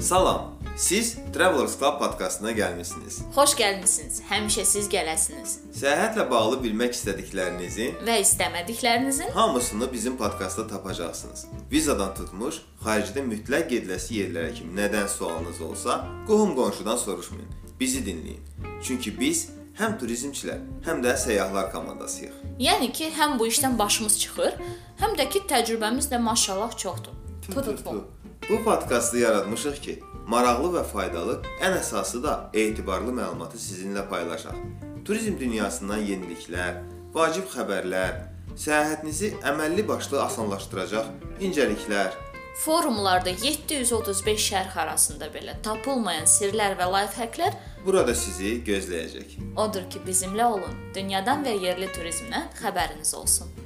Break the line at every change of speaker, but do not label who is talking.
Salam, siz Travelers Club podkastına gəlmisiniz.
Xoş gəlmisiniz. Həmişə siz gələsiniz
Səyahətlə bağlı bilmək istədiklərinizi
və istəmədiklərinizin
hamısını bizim podkastda tapacaqsınız. Vizadan tutmuş, xaricdə mütləq gediləsi yerlərə kimi nədən sualınız olsa, qohum-qonşudan soruşmayın. Bizi dinləyin. Çünki biz həm turizmçilər, həm də səyyahlar komandasıyıq.
Yəni ki, həm bu işdən başımız çıxır, həm də ki, təcrübəmiz də maşallah çoxdur. Tu tu tu.
Bu podkastı yaratmışıq ki, maraqlı və faydalı, ən əsası da etibarlı məlumatı sizinlə paylaşaq. Turizm dünyasından yeniliklər, vacib xəbərlər, səyahətinizi əməlli başlı asanlaşdıracaq incəliklər,
Forumlarda 735 şərh arasında belə tapılmayan sirlər və lifehacklər
burada sizi gözləyəcək.
odur ki, bizimlə olun. Dünyadan və yerli turizmdən xəbəriniz olsun.